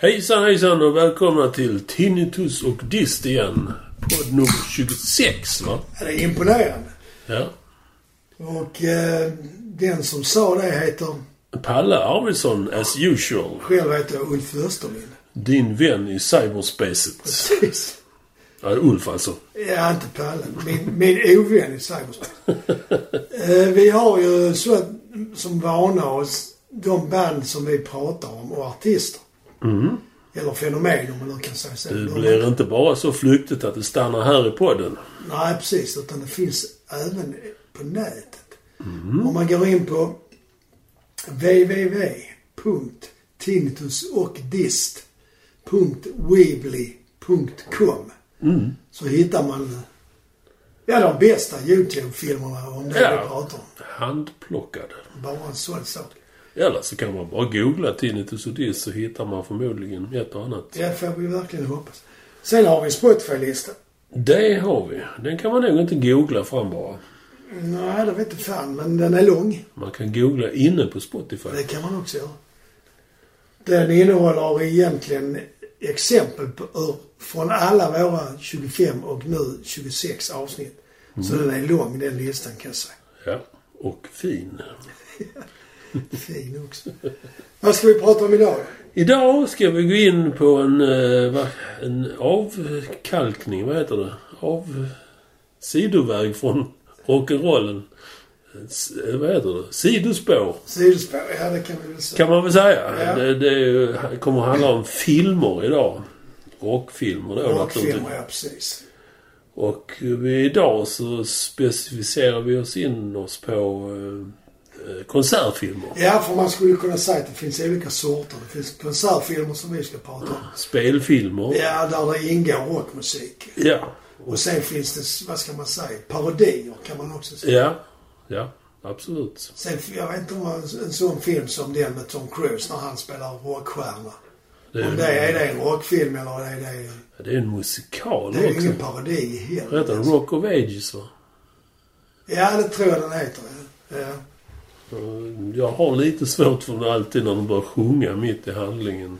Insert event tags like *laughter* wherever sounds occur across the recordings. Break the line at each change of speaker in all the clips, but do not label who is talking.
Hejsan hejsan och välkomna till Tinnitus och Dist igen. Podd nummer 26 va?
Ja, Det är imponerande.
Ja.
Och eh, den som sa det heter,
Palle Arvidsson as usual.
själv heter jag Ulf Österlind.
Din vän i cyberspacet.
Precis.
Ja, Ulf alltså.
Ja, inte Palle. Min, min ovän i cyberspace. eh, vi har ju så, att- som vana oss de band som vi pratar om och artister. Eller fenomen om man nu kan säga så.
Det
De-
blir inte bara så flyktigt att det stannar här i podden.
Nej, precis. Utan det finns även på nätet. Om man går in på www.tinnitusochdist.weebly.com så hittar man ja, de bästa YouTube-filmerna om det
Ja.
vi pratar om.
Handplockade.
Bara en sån sak.
Eller så kan man bara googla Tinnitus och Dist så hittar man förmodligen ett och annat.
Det får vi verkligen hoppas. Sen har vi en Spotify-lista.
Det har vi. Den kan man nog inte googla fram bara.
Nej, det vet inte fan, men den är lång.
Man kan googla inne på Spotify.
Det kan man också göra. Den innehåller egentligen exempel på, ur, från alla våra 25 och nu 26 avsnitt. Så den är lång den listan kan jag säga.
Ja. Och fin.
Fin också. Vad ska vi prata om idag?
Idag ska vi gå in på en, eh, va- en avkalkning, vad heter det? Av... Sidoväg från rock'n'rollen. S- eh, Vad heter det? Sidospår,
Sidospår? Ja, det kan vi väl säga.
kan man väl säga.
Ja.
Det, det är ju, kommer att handla om filmer idag. Rockfilmer då naturligtvis.
Rockfilmer, ja precis.
Och eh, idag så specificerar vi oss in oss på eh, eh, konsertfilmer.
Ja, för man skulle kunna säga att det finns olika sorter. Det finns konsertfilmer som vi ska prata om.
Spelfilmer.
Ja, där det ingår rockmusik.
Ja.
Och sen finns det, vad ska man säga, parodier kan man också säga.
Ja. Ja. Absolut.
Sen, jag vet inte om en, en sån film som den med Tom Cruise när han spelar rockstjärna.
Det är,
Om
ju-
det är det en rockfilm eller är det,
det är en musikal
det är ju
också.
ingen parodi
Vad heter den?
heller.
Rock of Ages va?
Ja, det tror jag den heter. ja. Ja.
Eh, Jag har lite svårt för det alltid när de börjar sjunga mitt i handlingen.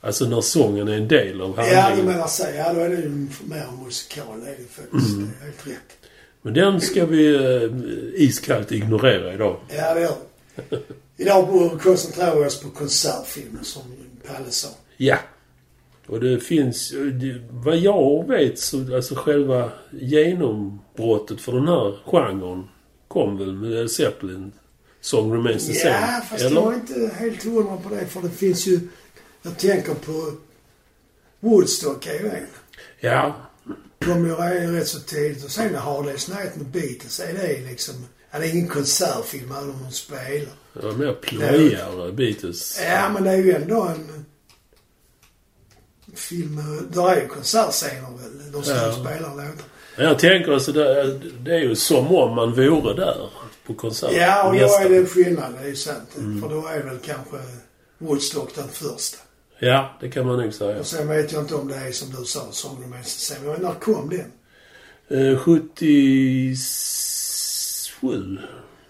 Alltså när sången är en del av
Ja, du
handlingen.
menar så. Ja, då är det ju mer en musikal. Det är det faktiskt.
Mm.
Det är helt rätt.
Men den ska vi eh, iskallt ignorera idag.
Ja, det gör det. Idag koncentrerar vi oss på konsertfilmer som Palle sa.
Ja. Och det finns, det- vad jag vet så, alltså själva genombrottet för den här genren kom väl med Led Zeppelin, Song Remains the Same?
Ja, fast
eller?
jag är inte helt hundra på det. För det finns ju... Jag tänker på... Woodstock är ju en.
Ja,
kom ju re- rätt så tidigt. Och sen Hardest Night med Beatles är det liksom... Ja, det är ingen konsertfilm även om de spelar.
det var mer plojigare Beatles.
Ja, men det är ju ändå en film... eh, Där är ju konsertscener väl? De står
Ja.
och spelar låtar.
Men jag tänker alltså, det, det är ju som om man vore där på konsert.
Ja, och då
Nästan. Mm.
är det en skillnad. Det är ju sant. För då är väl kanske Woodstock den första.
Ja, det kan man nog säga.
Och sen vet jag inte om det är som du sa, Song Remains the Same. Men när kom den?
Eh, 77,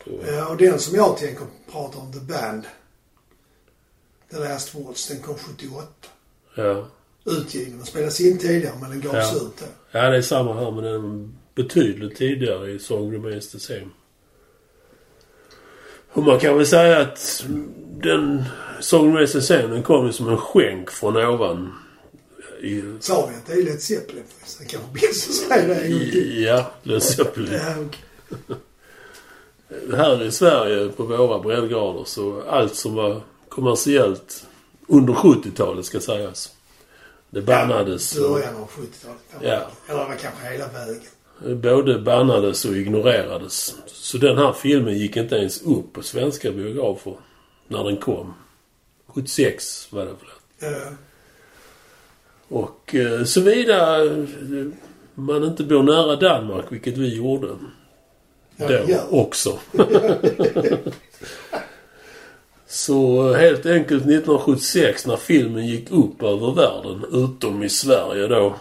tror jag.
Ja, Eh, och den som jag tänker prata om, The Band. The Last Waltz, den kom 78.
Ja.
utgiven. Den spelades in tidigare men den gavs
Ja.
ut då.
Ja, det är samma här men den är betydligt tidigare i Song Remains the Same. Och man kan väl säga att den Song Remains the Same den kom ju som en skänk från ovan. I,
Sa vi att det är Led Zeppelin förresten? Kanske bäst att säga det en gång till.
i, ja, Led Zeppelin.
Ja, okej.
Här i Sverige på våra breddgrader så allt som var kommersiellt under 70-talet ska sägas. Det bannades.
Början av 70-talet.
Ja.
Eller det var kanske hela vägen.
Både bannades och ignorerades. Så den här filmen gick inte ens upp på svenska biografer när den kom. 76 var det väl.
Ja.
Och eh, såvida eh, man inte bor nära Danmark, vilket vi gjorde
Ja,
då
ja.
också. *laughs* Så eh, helt enkelt 1976 när filmen gick upp över världen, utom i Sverige då,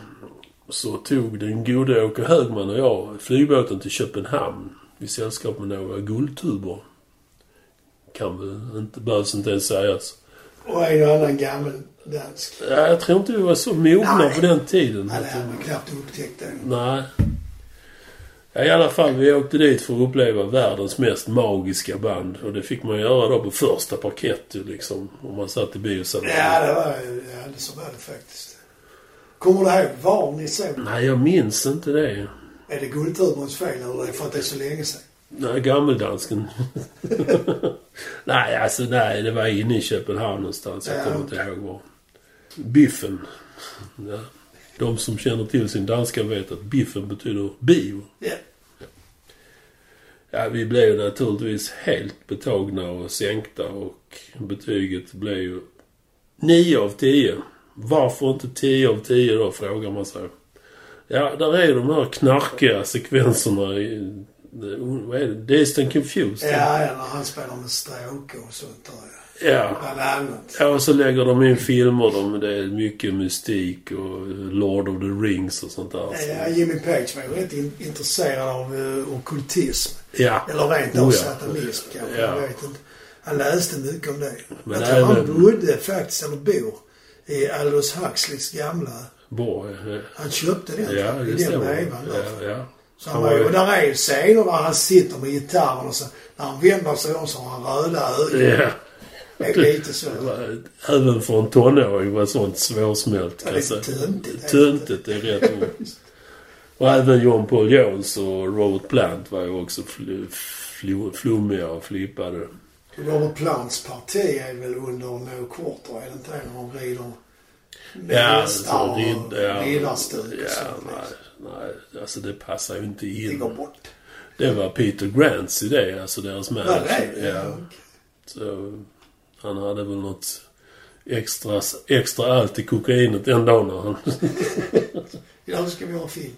så tog den gode Åke Högman och jag flygbåten till Köpenhamn i sällskap med några guldtuber. Kan väl inte, behövs inte ens sägas.
Och en och annan gammal dansk.
Ja, Jag tror inte vi var så mogna
Nej.
på den tiden.
Ja, det hade man knappt upptäckt än.
Nej. Ja, I alla fall, vi åkte dit för att uppleva världens mest magiska band. Och det fick man göra då på första parkett ju, liksom. Om man satt i biosalongen.
Ja, det var ju... Ja, det så var det faktiskt. Kommer du ihåg var ni såg?
Nej, jag minns inte det.
Är det Guldtuberns fel eller är det för att det är så länge sedan?
Nej, gammeldansken. *laughs* nej, alltså nej, det var inne i Köpenhamn någonstans. Jag
Ja.
kommer inte ihåg var. Biffen. Ja. De som känner till sin danska vet att biffen betyder bio.
Ja.
Ja, vi blev naturligtvis helt betagna och sänkta och betyget blev ju 9 av 10. Varför inte 10 av 10 då, frågar man sig. Ja, där är de här knarkiga sekvenserna i... Vad är det? Dazed and confused.
Ja, ja, när han spelar med stråke och sånt där. ja.
ja.
Bland annat.
Ja, och så lägger de in filmer. De, det är mycket mystik och Lord of the Rings och sånt där.
Ja, Jimmy Page var ju rätt in, intresserad av uh, ockultism.
Ja.
Eller rent
Oh ja.
av satanism kanske.
Ja.
Jag vet inte. Han läste mycket om det.
Men
jag tror han
även-
bodde faktiskt, eller bor, i Aldous Huxleys gamla...
Bra. ja.
Han köpte den
Ja,
i
det
den
stämmer.
vevan. där.
Ja, ja.
Så han var ju, och där är ju scener där han sitter med gitarren och så när han vänder sig om så har han röda ögon.
Ja.
Det är
*laughs*
lite så.
Även för en tonåring var sånt svårsmält
Ja,
kan
det är
jag säga.
töntigt.
Töntigt är rätt ord. Och även John Paul Jones och Robert Plant var ju också fl- fl- flummiga och flippade.
Robert Plants parti är väl under No Quarter, är det inte det? När de rider med
Ja,
hästar
alltså, ridd- ja.
och riddarstuk och
Ja,
sånt.
nej,
liksom.
nej. Alltså det passar ju inte
Det
in.
går bort.
Det var Peter Grants idé, alltså deras
Vad
manager.
är det?
Ja. Så, han hade väl något extra, extra allt i kokainet den dagen när han...
Idag ska vi ha film.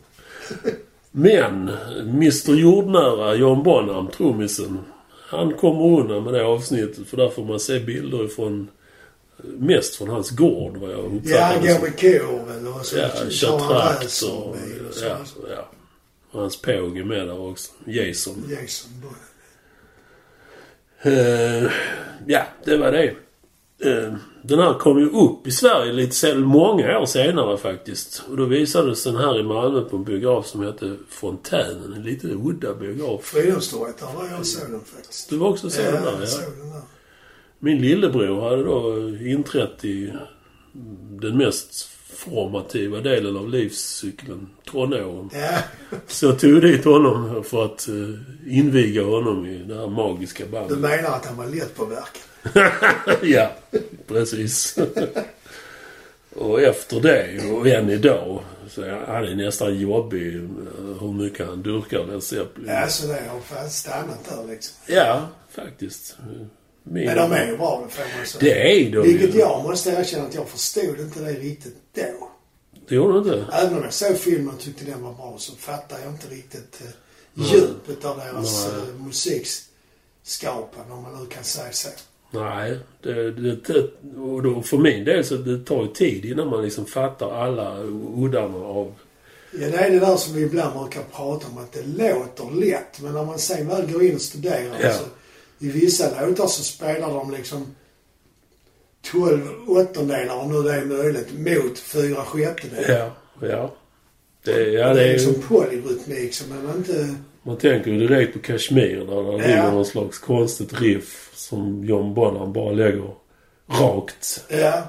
Men, Mr Jordnära, John Bonham, trummisen, han kommer undan med det avsnittet för där får man se bilder ifrån mest från hans gård vad jag
Ja,
uppfattar
han
det
går
som.
med kor eller så
Ja,
tar han
Chatrax
racer
och...
med och så.
Ja, ja. Och hans påg är med där också. Jason.
Jason Bourne.
Eh, ja, det var det. Eh, den här kom ju upp i Sverige lite sen, många år senare faktiskt. Och då visades den här i Malmö på en biograf som hette Fontänen. En lite udda biograf.
Friluftstorget, där var jag och såg den faktiskt.
Du var också sen
Ja,
där,
jag
ja.
såg den där.
Min lillebror hade då inträtt i den mest formativa delen av livscykeln, tonåren.
Ja,
Så jag tog dit honom för att eh, inviga honom i det här magiska
du
bandet.
menar att han var lättpåverkad?
ja, precis. *laughs* och efter det, och än idag, så är han är nästan jobbig eh, hur mycket han durkar Led Zeppelin.
Ja, så det har fan stannat där liksom.
Ja, faktiskt. Min...
Men de är ju bra, det får man säga.
Det är de
Vilket
ju.
jag måste erkänna att jag förstod inte det riktigt då.
Det gjorde du inte?
Även om jag såg filmen och tyckte den var bra så fattade jag inte riktigt eh, djupet av deras
Nej.
eh, musikskapande, om man nu kan säga så.
Nej, det, det, det, och då för min del så det tar ju tid innan man liksom fattar alla uddarna av...
Ja, det är det där som vi ibland brukar prata om, att det låter lätt. Men när man sen väl går in och studerar
Ja.
så i vissa låtar så spelar de liksom 12 åttondelar, om nu det är möjligt, mot 4 sjättedelar.
Ja, ja. Det, ja,
det
det
är
är,
liksom polyrytmik som man inte...
man tänker ju direkt på Kashmir där det ligger någon slags konstigt riff som John Bonham bara lägger rakt.
Ja.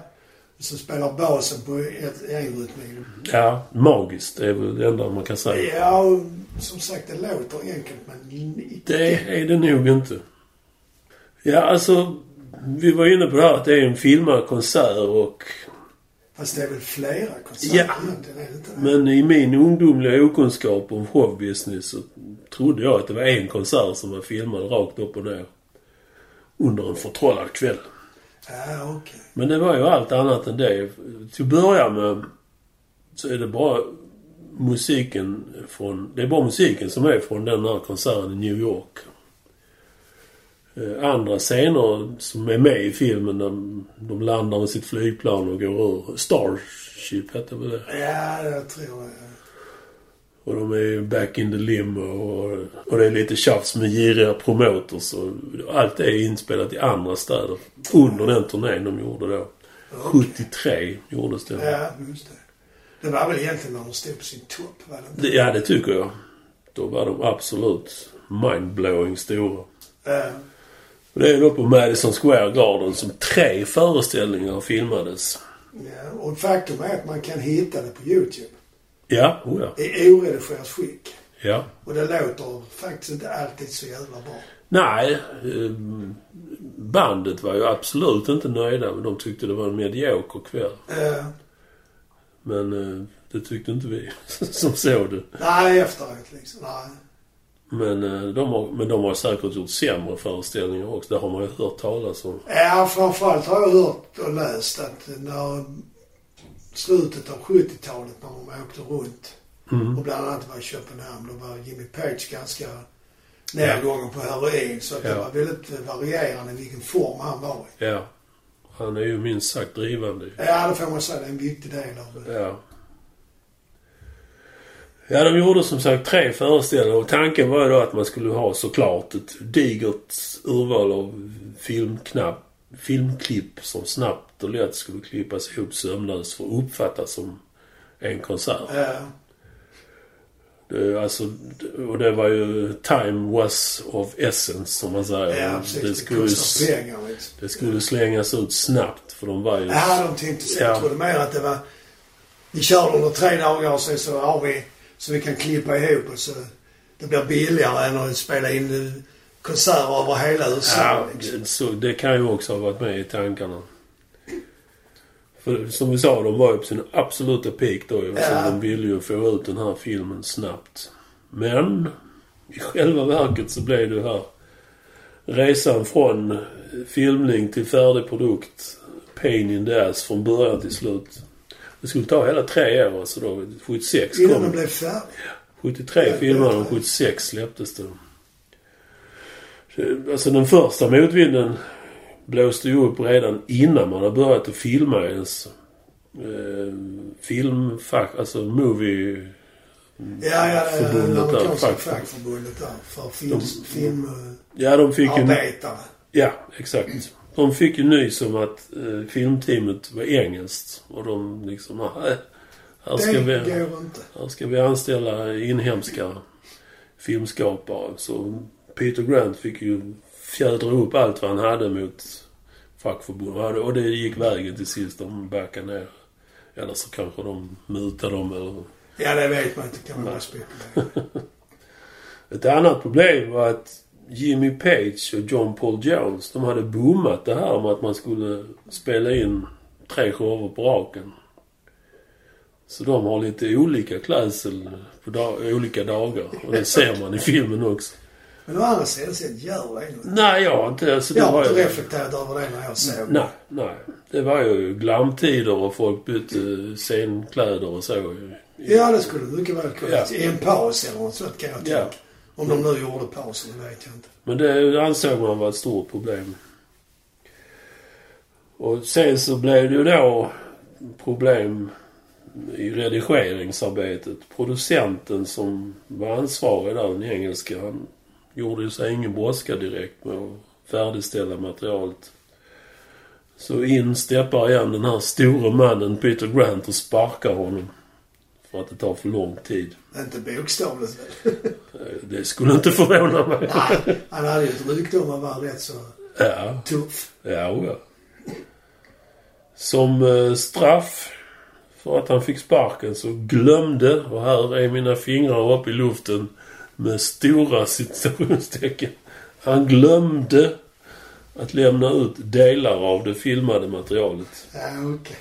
Så spelar basen på ett, en rytmik.
Ja, magiskt är väl det enda man kan säga.
Ja, och som sagt det låter enkelt men inte.
Det är det nog inte. Ja, alltså... Vi var inne på det här att det är en filmad konsert och
Fast det är väl flera konserter
Ja.
egentligen, är det inte det?
Men i min ungdomliga okunskap om showbusiness så trodde jag att det var en konsert som var filmad rakt upp och ner. Under en förtrollad kväll.
Ja, okej.
Men det var ju allt annat än det. Till att börja med så är det bara musiken från... Det är bara musiken som är från den här konserten i New York. Eh, Andra scener som är med i filmen, de, de landar med sitt flygplan och går ur. Starship hette väl det?
eh, Ja, jag tror det.
Och de är back in the limo och, och det är lite tjafs med giriga promoters. Och allt är inspelat i andra städer. Under den turnén de gjorde då. 73 gjordes det.
Ja, just det. Det var väl egentligen när de stod på sin topp, var det inte?
Det- Ja, det tycker jag. Då var de absolut mindblowing stora.
Eh,
Och Det är då på Madison Square Garden som tre föreställningar filmades.
ja. Och faktum är att man kan hitta det på YouTube.
Ja, oh ja.
I oredigerat skick.
ja.
Och det låter faktiskt inte alltid så jävla bra.
Nej, eh, bandet var ju absolut inte nöjda. Men de tyckte det var en medioker kväll.
Eh,
Men eh, det tyckte inte vi *laughs* som såg det.
nej, efteråt liksom. Nej.
Men, eh, de har, men de har säkert gjort sämre föreställningar också. Det har man ju hört talas om.
Ja, framförallt har jag hört och läst att när slutet av 70-talet när de åkte runt
Mm.
och bland annat var i Köpenhamn, då var Jimmy Page ganska nedgången på heroin. Så att det
Ja.
var väldigt varierande vilken form han var i.
Ja. Han är ju minst sagt drivande.
Ja, det får man säga. Det är en viktig del av det.
Ja. Ja, de gjorde som sagt tre föreställningar och tanken var ju då att man skulle ha såklart ett digert urval av filmknapp, filmklipp som snabbt och lätt skulle klippas ihop sömlöst för att uppfattas som en konsert.
Eh,
Det, alltså, och det var ju time was of essence som man säger.
ja, precis.
Eh, det,
Det
skulle, ju s-
kostar pengar liksom.
det skulle slängas ut snabbt för de var ju...
Ja, de tänkte så.
Ja.
Jag trodde mer att det var... Vi kör under tre dagar och sen så har vi... Så vi kan klippa ihop och så... Det blir billigare än att spela in eh, konserter över hela USA.
Ja,
liksom.
det, så det kan ju också ha varit med i tankarna. För som vi sa, de var ju på sin absoluta peak då ju. Så
Ja.
de ville ju få ut den här filmen snabbt. Men i själva verket så blev det här resan från filmning till färdig produkt, pain in the ass från början till slut. Det skulle ta hela tre år alltså då. 76
Innan
kom
de blev färdiga.
73 filmade de, 76 släpptes det. Så, Alltså den första motvinden blåste ju upp redan innan man hade börjat att filma ens. Eh, film, fack, alltså movie...
Ja, ja, ja.
Förbundet
det
där,
Amerikanska
fack-
fackförbundet där. För film... filmarbetare.
Ja, de fick ju... Ja, exakt. De fick ju nys om att eh, filmteamet var engelskt. Och de liksom... "Nej, Här ska vi...
Det går inte.
Här ska vi anställa inhemska filmskapare. Så Peter Grant fick ju fjädra upp allt vad han hade mot fackförbundet. Och det gick vägen till sist. De backade ner. Eller så kanske de mutade dem eller...
Ja, det vet man inte. kan man
*laughs*
bara spekulera.
Ett annat problem var att Jimmy Page och John Paul Jones, de hade bommat det här med att man skulle spela in tre shower på raken. Så de har lite olika klädsel på da- olika dagar. Och det ser man i filmen också.
Men å andra sidan så gör det inget.
Nej, jag har inte... Alltså, det
Jag har
var
inte
ju-
reflekterat över det när jag såg
Nej, nej. Det var ju glamtider och folk bytte scenkläder och så.
Ja, det skulle mycket väl kunna.
Ja.
I en paus eller något sånt kan jag tänka.
Ja.
Om de nu gjorde pausen, det vet jag inte.
Men det ansåg man var ett stort problem. Och sen så blev det ju då problem i redigeringsarbetet. Producenten som var ansvarig där, den engelska, han gjorde ju sig ingen brådska direkt med att färdigställa materialet. Så in steppar igen den här store mannen Peter Grant och sparkar honom. För att det tar för lång tid.
Inte
*laughs*
bokstavligt väl?
Eh, Det skulle inte förvåna mig.
Nej, han hade ju ett rykte om att vara rätt så
Ja.
tuff.
Ja, oh ja. Som eh, straff för att han fick sparken så glömde, och här är mina fingrar upp i luften med stora citationstecken. Han glömde att lämna ut delar av det filmade materialet.
Ja, okej.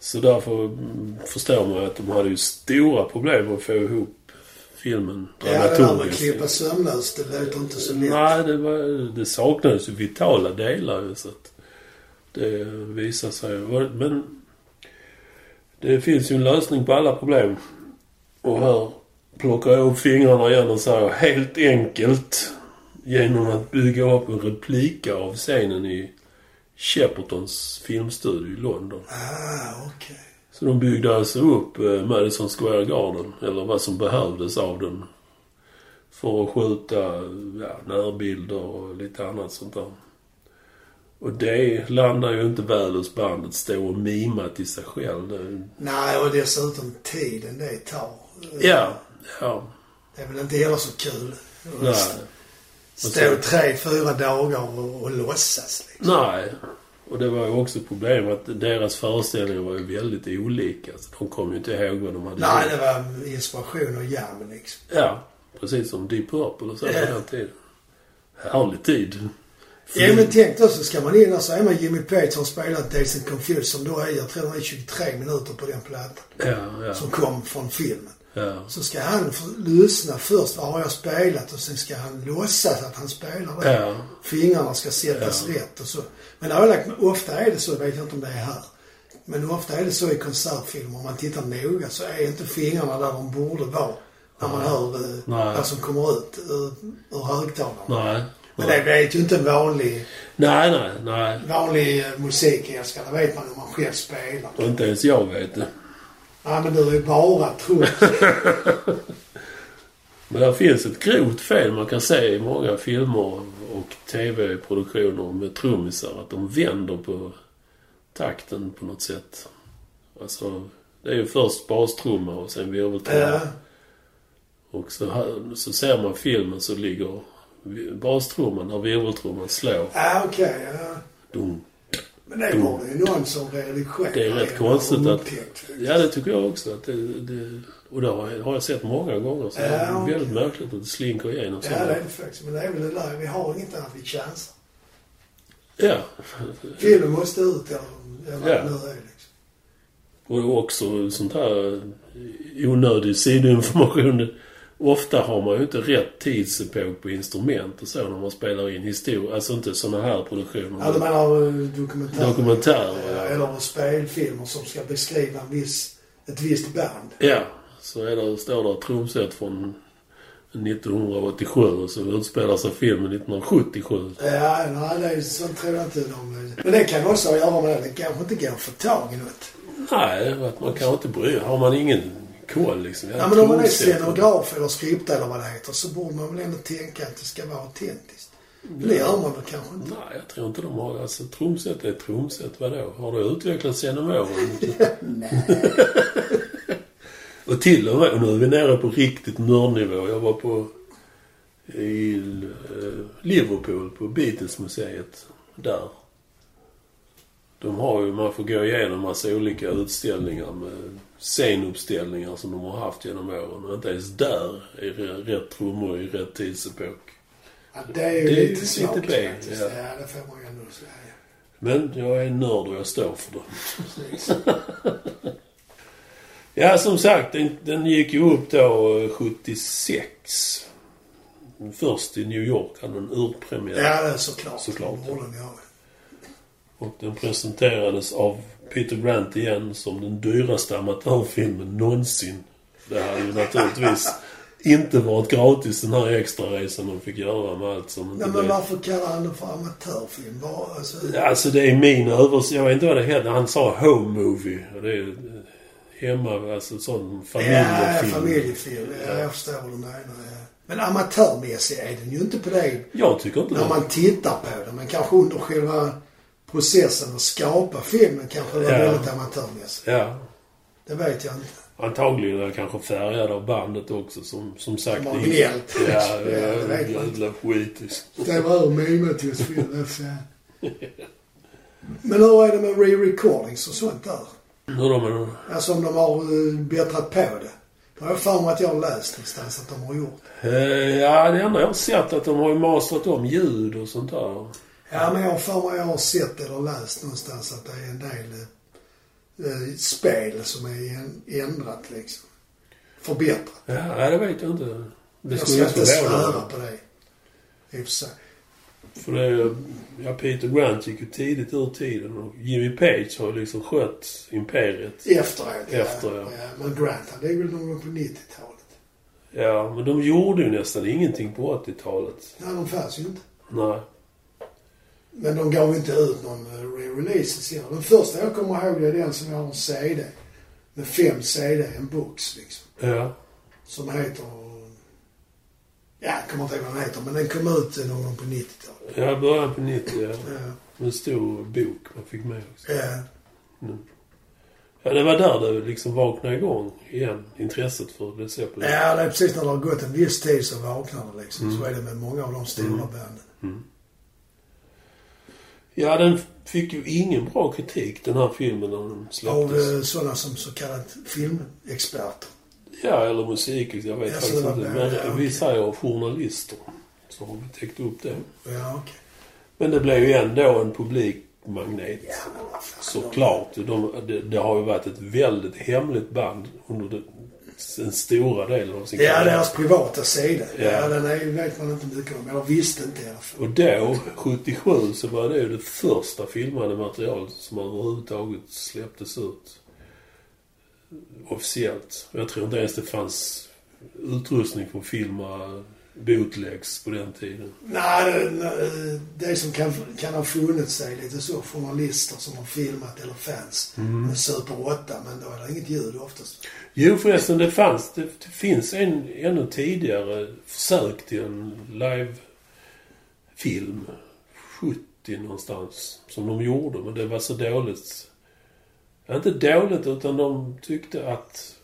Så därför mm, förstår man att de hade ju stora problem att få ihop filmen
Ja, det där med att
dramaturgiskt.
klippa sömnlöst, det låter inte så lätt.
Nej, det, var, det saknades ju vitala delar ju, så att det visar sig. Men det finns ju en lösning på alla problem. Och här plockar jag upp fingrarna igen och säger helt enkelt genom att bygga upp en replika av scenen i Sheppertons filmstudio i London.
Ah, okej.
Så de byggde alltså upp eh, Madison Square Garden, eller vad som behövdes av den. För att skjuta ja, närbilder och lite annat sånt där. Och det landar ju inte väl hos bandet, stå och mima till sig själv. Det,
Nej, och dessutom tiden det tar.
ja, ja,
Det är väl inte heller så kul. att
nej,
Stå tre, fyra dagar och, och låtsas. Liksom.
nej. Och det var ju också problem att deras föreställningar var ju väldigt olika. Så de kom ju inte ihåg vad de hade
Nej,
gjort.
det var inspiration och jam liksom.
Ja, precis som Deep Purple och så på
Ja.
den tiden. Härlig tid.
Ja men tänk då så ska man in där så är man Jimmy Page har spelat Days and Confused som då är, jag tror den är 23 minuter på den plattan.
Ja, ja,
Som kom från filmen.
ja.
Så ska han få lyssna först, vad har jag spelat? Och sen ska han låtsas att han spelar det.
Ja.
Fingrarna ska sättas rätt och så. Men det har jag lagt, ofta är det så, jag vet inte om det är här. Men ofta är det så i konsertfilmer, om man tittar noga så är inte fingrarna där de borde vara. När man hör eh,
Nej.
vad som kommer ut ur, ur högtalarna.
Nej.
Men det vet ju inte en vanlig
Nej, nej, nej.
vanlig eh, musikälskare, det vet man om man själv spelar.
Och inte ens jag vet det.
Nej, men du är bara trummis.
*laughs* Men det finns ett grovt fel man kan se i många filmer och tv-produktioner med trummisar. Att de vänder på takten på något sätt. Alltså, det är ju först bastrumma och sen virveltrumma.
Eh,
Och så, här- så ser man filmen så ligger vi- bastrumman när virveltrumman slår.
Ja, okej. ja.
Dum.
Men det var det ju någon som religös.
Det är rätt konstigt att...
upptäckt.
Ja, det tycker jag också. Att det, det, och det har jag- har jag sett många gånger. Så det
Ja,
är
okej.
väldigt märkligt att det slinker igenom så.
Ja, det är det faktiskt. Men det är väl det där, vi har inget annat vi chansar.
Ja.
Filmen måste ut eller, eller
Ja.
vad det nu är liksom.
Och också sånt här onödig sidoinformation. Ofta har man ju inte rätt tidsepok på instrument och så när man spelar in historia. Alltså inte såna här produktioner.
Ja, du menar eh, dokumentärer?
Dokumentärer, ja.
Ja, Eller spelfilmer som ska beskriva en viss, ett visst band.
Ja, så är det, står det ett trumset från 1987 och så utspelar sig filmen 1977.
Ja, nej, det är sånt tror jag inte de... Men det kan också ha att göra med det. Det kanske inte går att få tag i något.
Nej, att man kan inte bry Har man ingen koll liksom.
Ja, men om man är
trumset.
scenograf eller skripta eller vad det heter så borde man väl ändå tänka att det ska vara autentiskt. Men det gör man väl kanske inte.
Nej, jag tror inte de har... Alltså, trumset är trumset. Vadå? Har det utvecklats genom åren?
Nej.
*laughs* Och till och med, och nu är vi nere på riktigt nördnivå. Jag var på i eh, Liverpool på Beatlesmuseet där. De har ju, man får gå igenom massa olika utställningar med scenuppställningar som de har haft genom åren. Men inte ens där är det rätt trummor i rätt tidsepok.
Ja, det är ju
Det är
lite
lite
svagt
B,
faktiskt.
ja.
Ja. det får man ju ändå säga.
Men jag är en nörd och jag står för det.
Precis.
Ja, som sagt, den, den gick ju upp då eh, 76. Först i New York hade den urpremiär.
Ja, det är såklart.
Såklart,
Det borde ni ha.
Och den presenterades av Peter Grant igen som den dyraste amatörfilmen någonsin. Det hade ju
*laughs*
naturligtvis inte varit gratis den här extraresan de fick göra med allt som inte
Nej, men
blev...
varför kallar han det för amatörfilm? Var, alltså,
Alltså det är min översättning. Jag vet inte vad det heter. Han sa home movie. Och det är eh, hemma, alltså sån
ja,
familjefilm.
familjefilm. Ja, jag förstår vad du menar. Ja. Men amatörmässig är den ju inte på det
Jag tycker inte
när
det.
man tittar på den. Men kanske under själva processen att skapa filmen kanske det var
Ja.
väldigt amatörmässigt.
Ja.
Det vet jag inte.
Antagligen är jag kanske färgad av bandet också som, som sagt.
De har
det-
gnällt.
Ja,
Ja, *laughs* det vet man.
jävla skit. liksom.
Det var ur mimet just filmen. Men hur är det med re-recordings och sånt där?
Hur de är...
Alltså om de har eh, bättrat på det. Det har jag för mig att jag har läst någonstans att de har gjort.
Eh, Ja, det enda jag har sett är att de har ju mastrat om ljud och sånt där.
Ja, men jag har för mig jag har sett eller läst någonstans att det är en del eh, eh, spel som är en- ändrat liksom. Förbättrat.
Ja, nej, det vet jag inte. Det skulle
Jag ska
jag
inte
inte
svära
förvåna
på det. I och för sig.
För det, är ju- ja, Peter Grant gick ju tidigt ur tiden och Jimmy Page har ju liksom skött imperiet.
Efteråt.
Efter, ja.
Men Grant, han det är väl någon gång på 90-talet.
Ja, men de gjorde ju nästan ingenting på 80-talet.
Nej, de fanns ju inte.
Nej.
Men de gav inte ut någon eh, re-release senare. Den första jag kommer ihåg det är den som jag har en CD. med fem CD i en box liksom.
Ja.
Som heter... Ja, jag kommer inte ihåg vad den heter, men den kom ut eh, någon gång på 90-talet.
Ja, början på 90 ja.
Ja.
En stor bok man fick med också.
Ja.
Ja, det var där det liksom vaknade igång igen, intresset för Led på
ja, det är precis när det har gått en viss tid så vaknar det liksom. Så är det med många av de stora banden.
Ja, den fick ju ingen bra kritik den här filmen när den
Av
släpptes.
eh, sådana som så kallat filmexperter.
Ja, eller musik, jag vet
Ja, så
faktiskt
det var
inte. Men
det, ja,
vi
okej.
säger journalister. Så har vi täckt upp det.
Ja, okej.
Men det blev ju ändå en publikmagnet.
Ja, men vad fan.
Såklart. De, det, det har ju varit ett väldigt hemligt band under den, den stora delen av sin
Ja, deras privata sida.
Ja.
Ja. den är, ju- vet man inte mycket om. Eller visste inte i alla fall.
Och då, 77, så var det ju det första filmade material som överhuvudtaget släpptes ut officiellt. Och Jag tror inte ens det fanns utrustning för att filma bootlegs på den tiden.
Nej, det- det, det som kan, kan ha funnits är lite så journalister som har filmat eller fans med Super 8, men då är det inget ljud oftast.
Jo förresten, det fanns. Det, det finns en ännu tidigare försök till en livefilm. 70 någonstans. Som de gjorde, men det var så dåligt. Ja, Inte dåligt, utan de tyckte att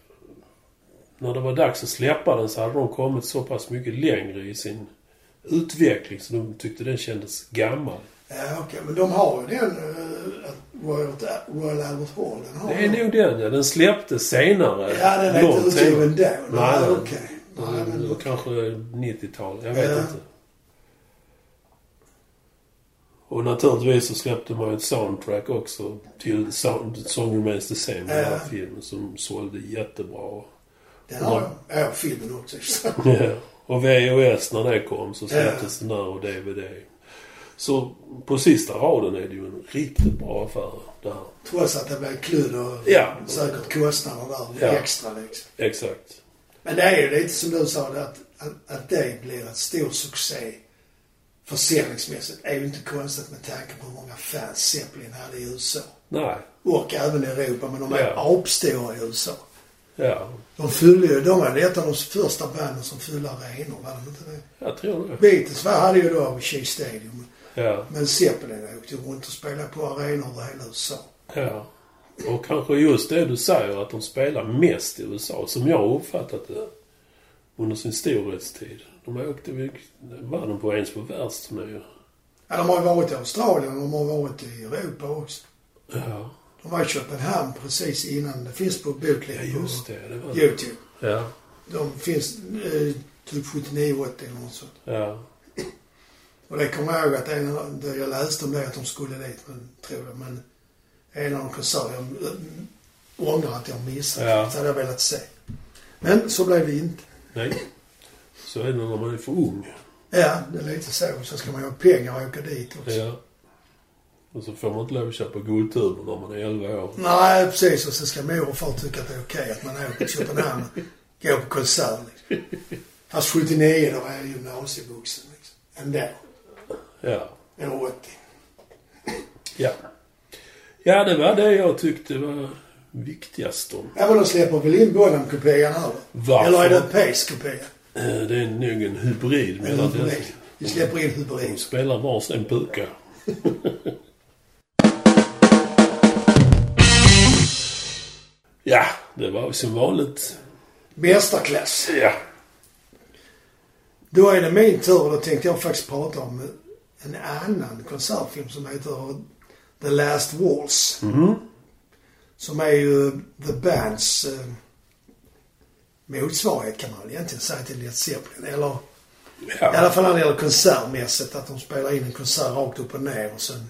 när det var dags att släppa den så hade de kommit så pass mycket längre i sin utveckling så de tyckte den kändes gammal.
Ja, okej, men de har ju den, uh, Royal, Royal Albert Hall, den har
Det är
de.
nog den ja. Den släpptes senare.
Ja, den är inte
Långt senare.
utgiven då.
Nej,
Nej,
nej.
okej. Nej,
Mm,
men-
Kanske 90-tal, jag vet
Ja.
inte. Och naturligtvis så släppte man ju ett soundtrack också till sound, Song Remains the Same, den här
Ja.
filmen som sålde jättebra. *laughs*
Den har de. Ja, filmen också. *laughs* Så.
Ja. Och VHS när det kom så släpptes den där och DVD. Så på sista raden är det ju en riktigt bra affär det här.
Trots att det blev kludd och
Ja.
säkert kostnader där
Ja.
extra liksom.
Exakt.
Men det är ju lite som du sa, det att, att, att det blir en stor succé försäljningsmässigt är ju inte konstigt med tanke på hur många fans Zeppelin hade i USA.
Nej.
Och även i Europa, men de är
Ja.
apstora i USA.
Ja,
De fyllde ju, de var ett av de första banden som fyllde arenor, var de inte det?
jag tror det.
Beatles var- hade ju då Shea Stadium,
Ja.
men Zeppelin åkte ju runt och spelade på arenor över hela USA.
Ja. Och kanske just det du säger att de spelar mest i USA, som jag har uppfattat det under sin storhetstid. De åkte väl, var de på ens på världsturné?
Ja, de har ju varit i Australien och de har varit i Europa också.
Ja.
De var i Köpenhamn precis innan, det finns på
ja,
bootleg
just
på
det. det var det.
Youtube.
Ja,
De finns eh, typ 79, 80 eller något sånt.
ja.
Och det kommer jag ihåg att en, av- det jag läste om det att de skulle dit, men, tror jag. Men en av dem sa jag mm, ångrar att jag missade.
Ja.
Så hade jag velat se. Men så blev det inte.
Nej. Så är det när man är för ung.
Ja, det är lite så. Så ska man ju ha pengar och åka dit också.
Ja. Och så får man inte lov att köpa guldtuber när man är 11 år.
Nej, precis. Och så ska mor och far tycka att det är okej att man åker till Köpenhamn och går på konsert. Liksom. Fast 79, då var jag gymnasievuxen liksom. Ändå.
Ja.
Eller 80.
Ja. Ja, det var det jag tyckte var viktigast om.
Ja, men de släpper väl in Bonham-kopian här då?
Varför?
Eller är det en Pace-kopia?
Eh, Det är nog en hybrid
En
mellan det.
hybrid. Vi släpper in hybrid.
De spelar varsin puka. *laughs* ja, det var ju som vanligt.
Mästarklass.
Ja.
Då är det min tur och då tänkte jag faktiskt prata om en annan konsertfilm som heter The Last Waltz.
Mhm.
Som är ju The Bands eh, motsvarighet kan man väl egentligen säga till Led Zeppelin. Eller i alla
ja.
fall när det gäller konsertmässigt. Att de spelar in en konsert rakt upp och ner och sen...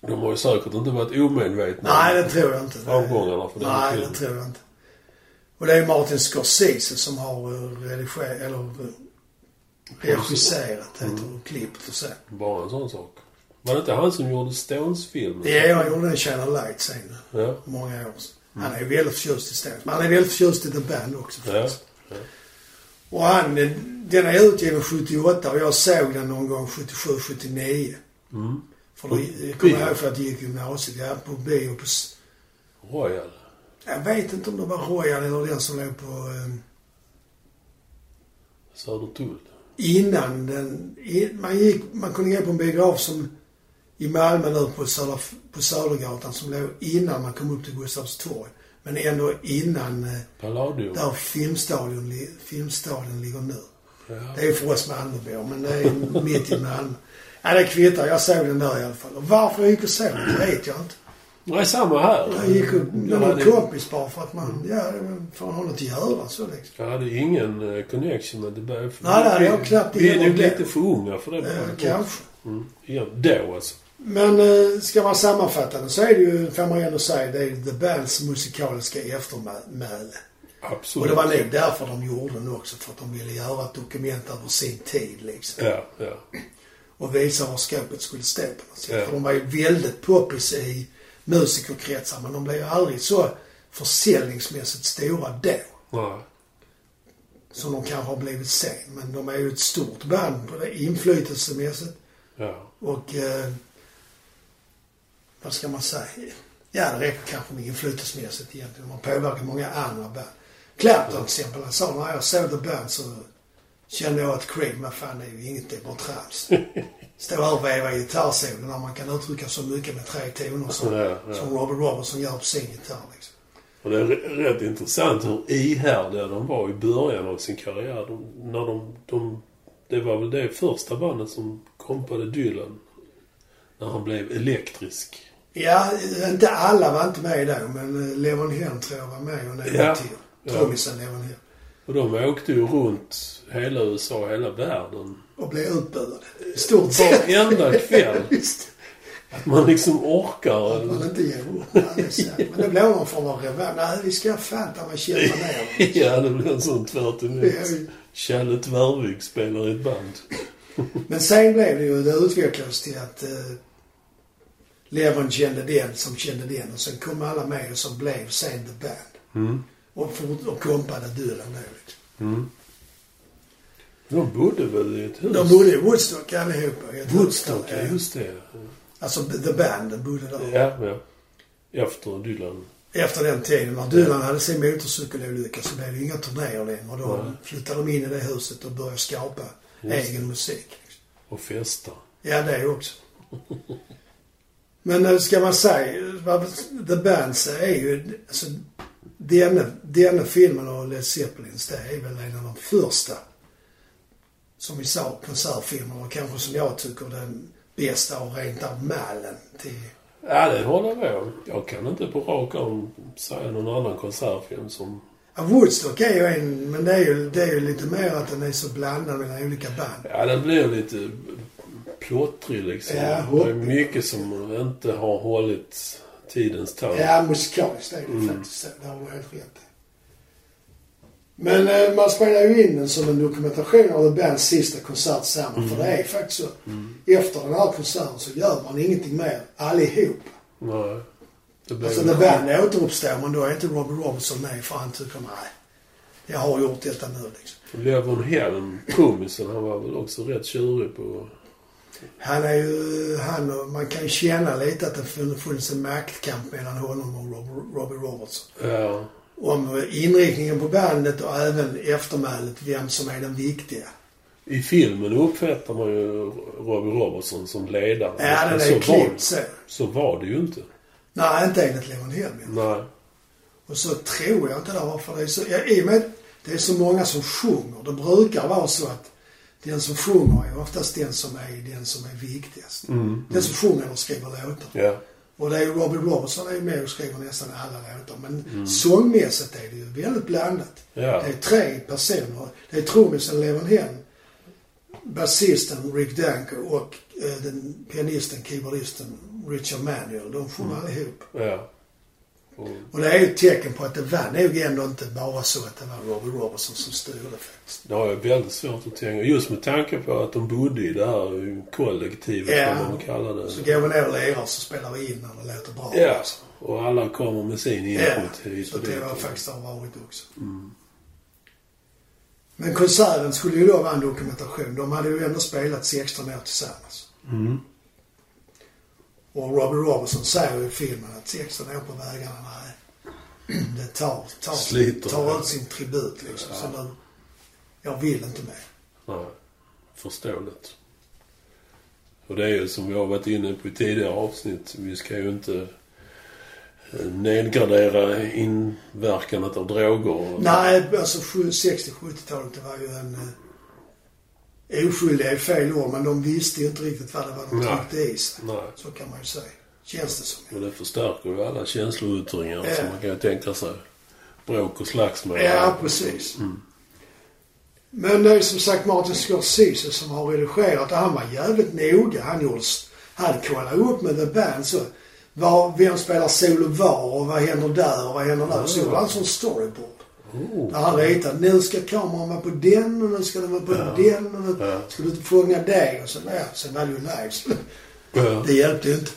De har ju säkert inte varit omedvetna.
Nej, det tror jag inte. Det-
Avgångarna för den
Nej,
filmen.
det tror jag inte. Och det är Martin Scorsese som har eh, redigerat, eller eh, regisserat, heter det, och klippt och så.
Bara en sån sak. Var det inte han som gjorde Stones-filmen?
Ja, jag gjorde en Channel Light sen,
Ja.
för många år sedan. Han är ju väldigt förtjust i Stones, men han är väldigt förtjust i The Band också
Ja.
faktiskt. Och han, eh, den är utgiven 78 och jag såg den någon gång 77, 79. För då
Mm. På
jag kommer
bio?
jag ihåg för att jag gick i gymnasiet, ja, på bio på, s-
Royal.
Jag vet inte om det var Royal eller den som låg på... Eh,
Södertull.
innan den... I, man, gick, man kunde gå på en biograf som i Malmö nu på, Söder, på Södergatan som låg innan man kom upp till Gustavs torg. Men ändå innan eh,
Palladio.
där filmstadion, li- filmstadion ligger nu.
Ja.
Det är för oss Malmöbor, men det är mitt i Malmö. Ja, det kvittar. Jag såg den där i alla fall. Och varför jag gick och såg den det vet jag inte.
Nej, samma här.
Jag gick och med
Mm. Jag
någon
hade-
kompis bara för att man, ja, för att ha något att göra så liksom.
Jag hade ingen eh, connection med det där. för-
Nej, nej, jag har knappt
Vi är
ingen
nog
aning.
lite för unga för det.
Eh, kanske.
Mm. Ja, då alltså.
Men eh, ska man sammanfatta det så är det ju, får man ju ändå säga, det är The Bands musikaliska eftermäle.
Absolut.
Och det var nog därför de gjorde den också, för att de ville göra ett dokument över sin tid liksom.
Ja, ja.
Och visa var skåpet skulle stå på något sätt.
Ja.
För de var ju väldigt poppis i musikerkretsar, men de blev ju aldrig så försäljningsmässigt stora då.
Nej.
Som de kanske har blivit sen. Men de är ju ett stort band både inflytelsemässigt
Ja.
och... Eh, vad ska man säga? Ja, det räcker kanske med inflytelsemässigt egentligen. Man påverkar många andra band. Clapton till exempel, han sa när jag såg The Band så kände jag att Cream, vad fan det är ju inget, det är
*laughs*
bara trams. Stå här och veva gitarrsolon när man kan uttrycka så mycket med tre toner som,
Ja, ja.
som Robert Robertson gör på sin gitarr. Liksom.
Och det är r- rätt intressant hur ihärdiga de var i början av sin karriär. De, när de, de, det var väl det första bandet som kompade Dylan. När han blev elektrisk.
Ja, inte alla var inte med då, men eh, Levon Helm tror jag var med och några
Ja.
till. Trummisen Levon Helm.
Och de åkte ju runt hela USA, hela världen.
Och blev utbuade. I stort *laughs* sett.
Varenda kväll.
Visst.
Att man liksom orkar.
Man inte ger upp. Ja, det är sant. Men det blev någon form av revansch. Nej, vi ska fan ta mig kämpa ner dem.
Ja, det blir en sån tvärt emot.
Ja.
Kjelle Tvärvik spelar i ett band.
Men sen blev det ju, det utvecklades till att eh, Levon kände den som kände den och sen kom alla med och så blev sen The Band.
Mm.
Och, fort, och kompade Dylan då liksom.
De bodde väl i ett hus?
De bodde i Woodstock allihopa. i ett
Woodstock, ja
hus.
just det.
Alltså The Band bodde där.
Ja, ja. Efter Dylan.
Efter den tiden när Dylan hade sin motorcykelolycka så blev det ju inga turnéer längre. Och Då flyttade de in i det huset och började skapa egen musik.
och festa.
Ja, det också. Men eh, ska man säga, vad- The Bands är ju, alltså, denna, denna filmen och Led Zeppelins, det är väl en av de första, som vi sa, konsertfilmerna. Och kanske som jag tycker den bästa och rent av mallen till
Ja, det håller jag med om. Jag kan inte på rak arm säga någon annan konsertfilm som...
Ja, Woodstock är ju en, men det är ju, det är ju lite mer att den är så blandad mellan olika band.
Ja, den blir lite plottrig liksom.
Ja,
det är
hoppigt.
mycket som inte har hållit tidens tand.
Ja, musikaliskt är det ju faktiskt så. Det har du helt rätt i. Men eh, man spelar ju in den som en dokumentation av The Bands sista konsert samman. För det är faktiskt så. Efter den här konserten så gör man ingenting mer, allihop.
Nej. Det blir
Alltså The Band återuppstår, men då är inte Robert Robinson med för han tycker nej, jag har gjort detta nu liksom.
Levon Helm, trummisen, han var väl också rätt tjurig på...
Han är ju, han, och- man kan ju känna lite att det fun- funnits en maktkamp mellan honom och Rob- Robbie Robertson.
Ja.
Om inriktningen på bandet och även eftermälet, vem som är den viktiga.
I filmen uppfattar man ju Robbie Robertson som ledare.
Ja,
Men
den är
så, var,
klippt så.
så var det ju inte.
Nej, inte enligt Levon Helmin.
Nej.
Och så tror jag inte det var, för det är så, ja, i och med att det är så många som sjunger. Det brukar vara så att den som sjunger är oftast den som är den som är viktigast. Den som sjunger eller skriver låtar.
Ja.
Och det är ju Robin Robertson är ju med och skriver nästan alla låtar. Men sångmässigt är det ju väldigt blandat.
Ja.
Det är tre personer. Det är trummisen Levon Helm, basisten Rick Danker och eh, den pianisten, keyboardisten Richard Manuel. De sjunger allihop.
Ja. Och,
Och det är ju ett tecken på att det var nog ändå inte bara så att det var Robin Robertson som styrde faktiskt.
Det har jag väldigt svårt att tänka. Just med tanke på att de bodde i det här kollektivet,
Ja.
yeah. vad man kallar det.
Så går vi ner och lirar så spelar vi in när det låter bra.
Ja,
Alltså.
och alla kommer med sin input
Ja,
hit
så
och
det
dit.
var faktiskt har varit också. Men konserten skulle ju då vara en dokumentation. De hade ju ändå spelat 16 år tillsammans. Och Robert Robertson säger ju i filmen att 16 år på vägarna, nej. *clears throat* det tar, tar,
Sliter.
tar ut sin tribut liksom. Så nu, jag vill inte mer.
Nej, förståeligt. Och det är ju som vi har varit inne på i tidigare avsnitt. Vi ska ju inte eh, nedgradera inverkandet av droger.
Nej, alltså sju- 60-70-talet det var ju en... Eh, oskyldig är fel ord, men de visste ju inte riktigt vad det var de
Nej.
tryckte i sig.
Nej.
Så kan man ju säga. Känns det som.
Och det förstärker ju alla känsloyttringar
Ja.
som man kan ju tänka sig. Bråk och slagsmål.
Ja, precis.
mm.
Men det är som sagt Martin Scorsese som har redigerat det. Han var jävligt noga. Han, gjorde, s- han kollade upp med The Band så. Var, vem spelar solo var och vad händer där och vad händer där? Så gjorde han som storyboard.
Oh.
Där han ritade. Nu ska kameran vara på den och nu ska den vara på den och nu
Ja.
ska du fånga det och så där. Sen var det ju lives.
Ja.
Det hjälpte ju inte.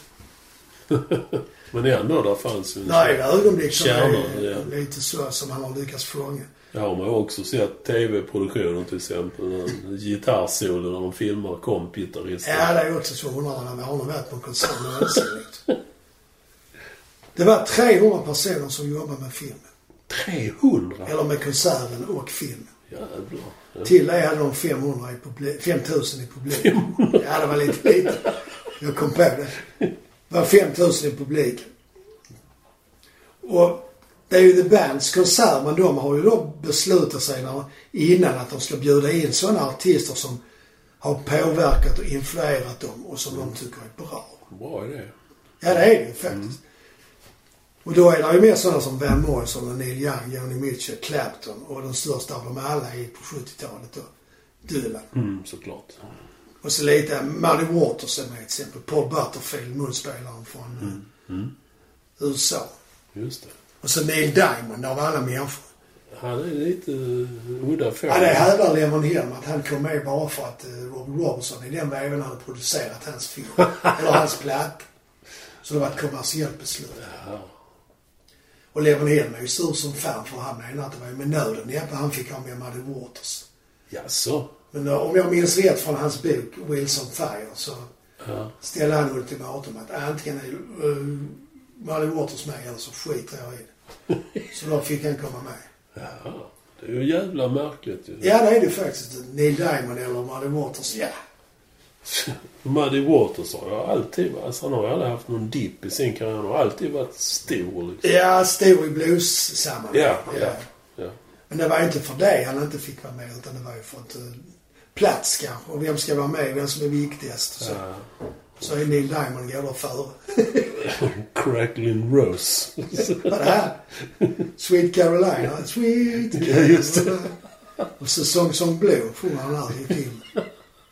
Men ändå, där fanns ju en...
Nej, det är ögonblick som
Kärnor,
är
ja.
lite så som han har lyckats fånga.
Det har man ju också sett tv-produktionen till exempel. En gitarrsolo när de filmar kompgitarristen.
Ja, det är också så undrar man har nog varit på en konsert med ansiktet. Det var 300 personer som jobbade med filmen.
300!
Eller med konserten och filmen.
Jävlar. Ja.
Till det hade de 500 i publik, 5000 i publiken. Ja, det var lite lite. Jag kom på det. Det var 5000 i publiken. Och det är ju The Bands konsert, men de har ju då beslutat sig när, innan att de ska bjuda in sådana artister som har påverkat och influerat dem och som de tycker är bra.
Bra idé.
Ja, det är det ju faktiskt. Och då är det ju mer sådana som Van Morrison och Neil Young, Joni Mitchell, Clapton och den största av dem alla är på 70-talet då, Dylan.
Mm, såklart.
Och så lite Muddy Waters är med till exempel. Paul Butterfield, munspelaren från eh, USA.
Just det.
Och så Neil Diamond av alla människor.
Han är lite eh, udda fågel.
Ja, det hävdar Lemon Helm att han kom med bara för att eh, Robert Robertson i den väven hade producerat hans film. eller hans platta. Så det var ett kommersiellt beslut.
Ja.
Och Levon Helm är ju sur som fan för han menar att det var ju med nöden hjälp han fick ha med Muddy Waters.
Jaså?
Men eh, om jag minns rätt från hans bok Wilson Fire så ställde han ultimatum att antingen är uh, Muddy Waters med eller så skiter jag i
*laughs*
det. så då fick han komma med.
Ja. Det är ju jävla märkligt ju.
Ja, det är det faktiskt. Neil Diamond eller Muddy Waters, ja.
Muddy Waters har ju alltid... Alltså han har ju aldrig haft någon dipp i sin karriär. Han har alltid varit stor liksom.
Ja, stor i blues-sammanhang.
Ja, ja. ja.
Men det var ju inte för det han inte fick vara med utan det var ju för att uh, plats kanske. Och vem ska vara med? Vem som är viktigast? Så,
ja.
så är Neil Diamond går då före.
Eh, Cracklin Rose. *laughs*
Vad är det här? Sweet Carolina. Sweet
*laughs*
Carolina.
Ja, just
Och så Song Song Blue sjunger han här i filmen.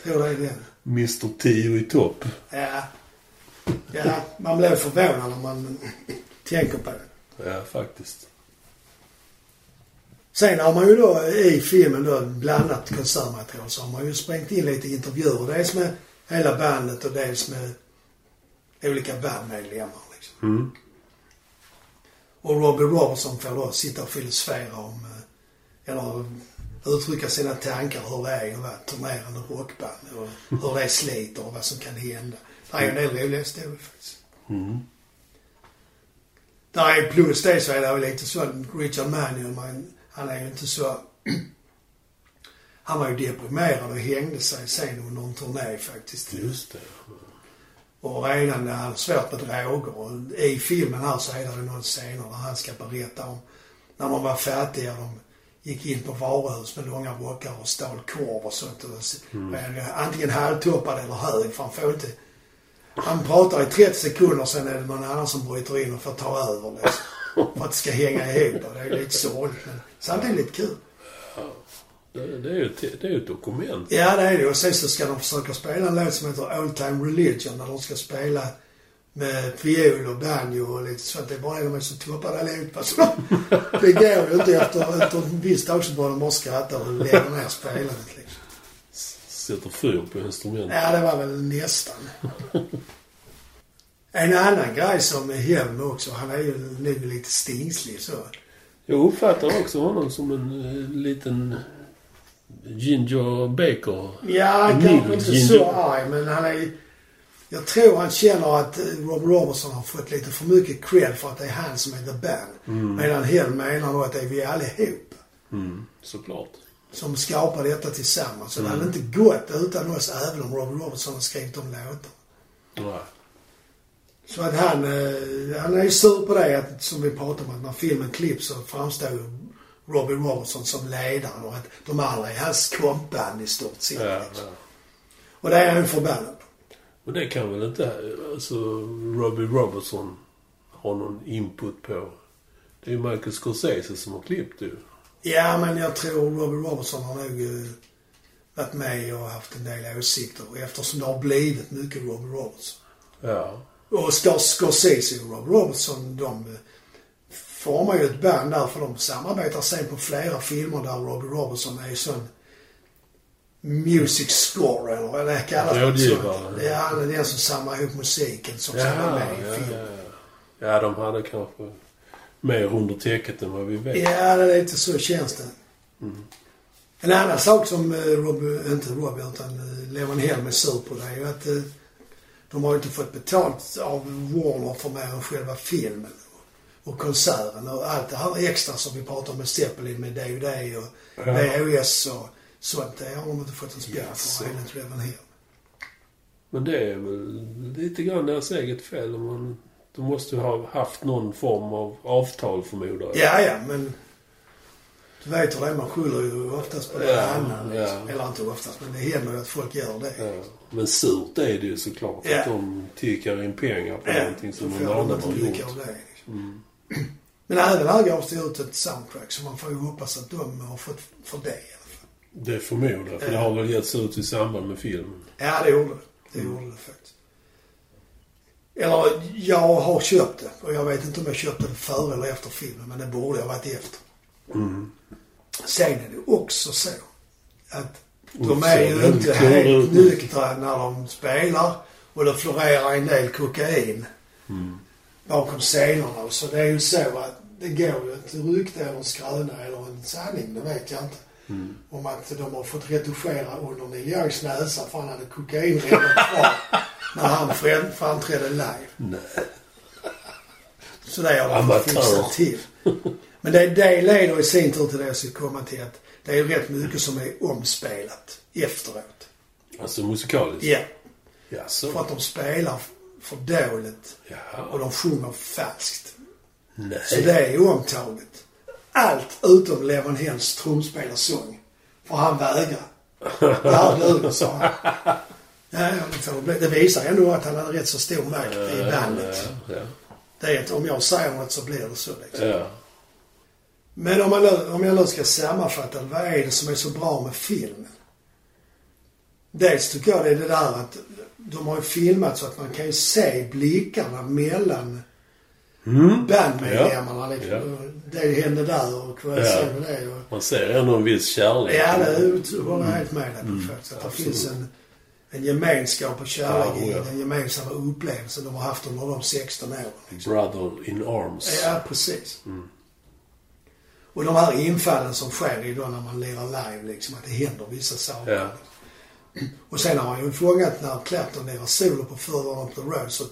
Tror det är den.
Mr. Tio i topp.
Ja. ja, man blev förvånad när man tänker på det.
Ja, faktiskt.
Sen har man ju då i filmen då blandat konsertmaterial så har man ju sprängt in lite intervjuer. Dels med hela bandet och dels med olika bandmedlemmar liksom.
Mm.
Och Robbie Robertson får då sitta och filosofera om, eh, eller uttrycka sina tankar hur det är att vara ett turnerande rockband och hur det sliter och vad som kan hända. Det är ju en del roliga historier faktiskt. Där är plus det så är det ju lite så Richard Mannion, man, han är ju inte så... *clears throat* Han var ju deprimerad och hängde sig sen under en turné faktiskt.
Just det.
Och redan när han har svårt med droger. Och I filmen här så är det någon scener där han ska berätta om när de var fattiga. De gick in på varuhus med långa rockar och stal korv och sånt. Och s- men Antingen halvtoppad eller hög. För han får inte... Han pratar i 30 sekunder sen är det någon annan som bryter in och får ta över liksom. För att det ska hänga ihop. Och det är lite sorgligt men samtidigt lite kul.
Det, det är ju ett, det är ju ett dokument.
Ja, det är det. Och sen så ska de försöka spela en låt som heter Old Time Religion där de ska spela med fiol och banjo och lite sånt. Det är bara det de är så toppade allihopa. Så *laughs* det går ju inte efter, efter en viss dag så börjar de bara skratta och lägger ner spelandet liksom.
Sätter fyr på instrumentet.
Ja, det var väl nästan. En annan grej som är hem också, han är ju nu lite stingslig så.
Jag uppfattar också honom som en eh, liten Ginger Baker.
Ja,
Mm,
kanske inte
gin-
så arg, men han är Jag tror han känner att eh, Rob Robertson har fått lite för mycket cred för att det är han som är the band.
Mm.
Medan Helm menar nog att det är vi allihop
Såklart.
som skapar detta tillsammans. Så det
Mm.
hade inte gått utan oss även om Rob Robertson har skrivit de låtarna.
Nej.
Så att han, eh, han är ju sur på det att, som vi pratade om, att när filmen klipps så framstår ju Robbie Robertson som ledaren och att de andra är hans kompband i stort sett.
Ja, ja.
liksom. Och det är han ju förbannad på.
Men det kan väl inte... Alltså, Robbie Robertson har någon input på... Det är ju Michael Scorsese som har klippt det ju.
Ja, men jag tror Robbie Robertson har nog eh, varit med och haft en del åsikter eftersom det har blivit mycket Robbie Robertson.
Ja.
Och Scor- Scorsese och Rob Robertson, de eh, formar ju ett band där för de samarbetar sen på flera filmer där Rob Robertson är ju sån music score eller vad det kallas.
Rådgivare.
Det är han är den som samlar ihop musiken som
Ja,
ska vara med i
ja,
filmen.
ja. ja, de hade kanske mer under täcket än vad vi vet.
Ja, det är lite så känns det.
Mm.
En annan sak som eh, Rob, inte Rob utan eh, Levan Helm är sur på det är ju att eh, de har ju inte fått betalt av Warner för mer än själva filmen och konserten och allt det här extra som vi pratar om med Zeppelin med DVD och
Ja.
VHS och sånt. Det har de inte fått en spjärn
Jaså.
för enligt Levan Helm.
Men det är väl lite grann deras eget fel. om Man, de måste ju ha haft någon form av avtal förmodar jag.
Ja, ja, men du vet hur det är. Man skyller ju oftast på någon
Ja,
annan. Liksom.
ja.
Eller inte oftast, men det händer ju att folk gör det.
Ja. Men surt är det ju såklart
Ja.
att de tickar in pengar på någonting som
då
någon
får
annan
inte
har
lycka
gjort. Mm.
av det. Men även här gavs det ut ett soundtrack så man får ju hoppas att de har fått för det. i alla fall.
Det förmodar jag, för det
Ja.
har väl getts ut i samband med filmen.
Ja, det gjorde det. Det
Mm.
gjorde det faktiskt. Eller, jag har köpt det. Och jag vet inte om jag köpte det före eller efter filmen, men det borde jag varit efter.
Mm.
Sen är det också så att de
Och
är
så
ju inte
väldigt
helt
klara ut.
nyktra när de spelar och det florerar en del kokain bakom scenerna. Så det är ju så att det går ju ett rykte eller en skröna eller en sanning, det vet jag inte.
Mm.
Om att de har fått retuschera under Neil Youngs näsa för han hade kokain redan kvar när han fram- framträdde live.
Nej.
Så det har de
Amatör.
fixat till. Men det, det leder i sin tur till det jag ska komma till att det är ju rätt mycket som är omspelat efteråt.
Alltså musikaliskt?
Ja, för
Jaså?
att de spelar för dåligt och
Jaha.
de sjunger falskt. Så
Nej.
det är omtaget. Allt utom Levan Helms trumspelarsång. För han vägrar. Det här duger, sa han. Ja, ja, men så blev- det visar ändå att han hade rätt så stor
*laughs*
makt i bandet.
Ja, ja.
Det är att om jag säger något så blir det så liksom.
ja.
Men om, man, nu- om jag nu ska sammanfatta, vad är det som är så bra med filmen? Dels tycker jag det är det där att de har ju filmat så att man kan ju se blickarna mellan
Mm.
bandmedlemmarna. Liksom.
Ja.
Det hände där och vad
Ja. Mm.
hände det? Och,
Man ser ändå en viss kärlek.
ja, det håller jag helt med dig på
Mm.
faktiskt. Att det finns en, en gemenskap och kärlek
Ja, oh ja.
i den gemensamma upplevelsen de har haft under de 16 åren.
Brother in arms.
Ja, precis. Och de här infallen som sker idag när man lirar live, liksom, att det händer vissa saker.
Ja.
Och sen har han ju fångat när Clapton lirar solo på Further Up The Road så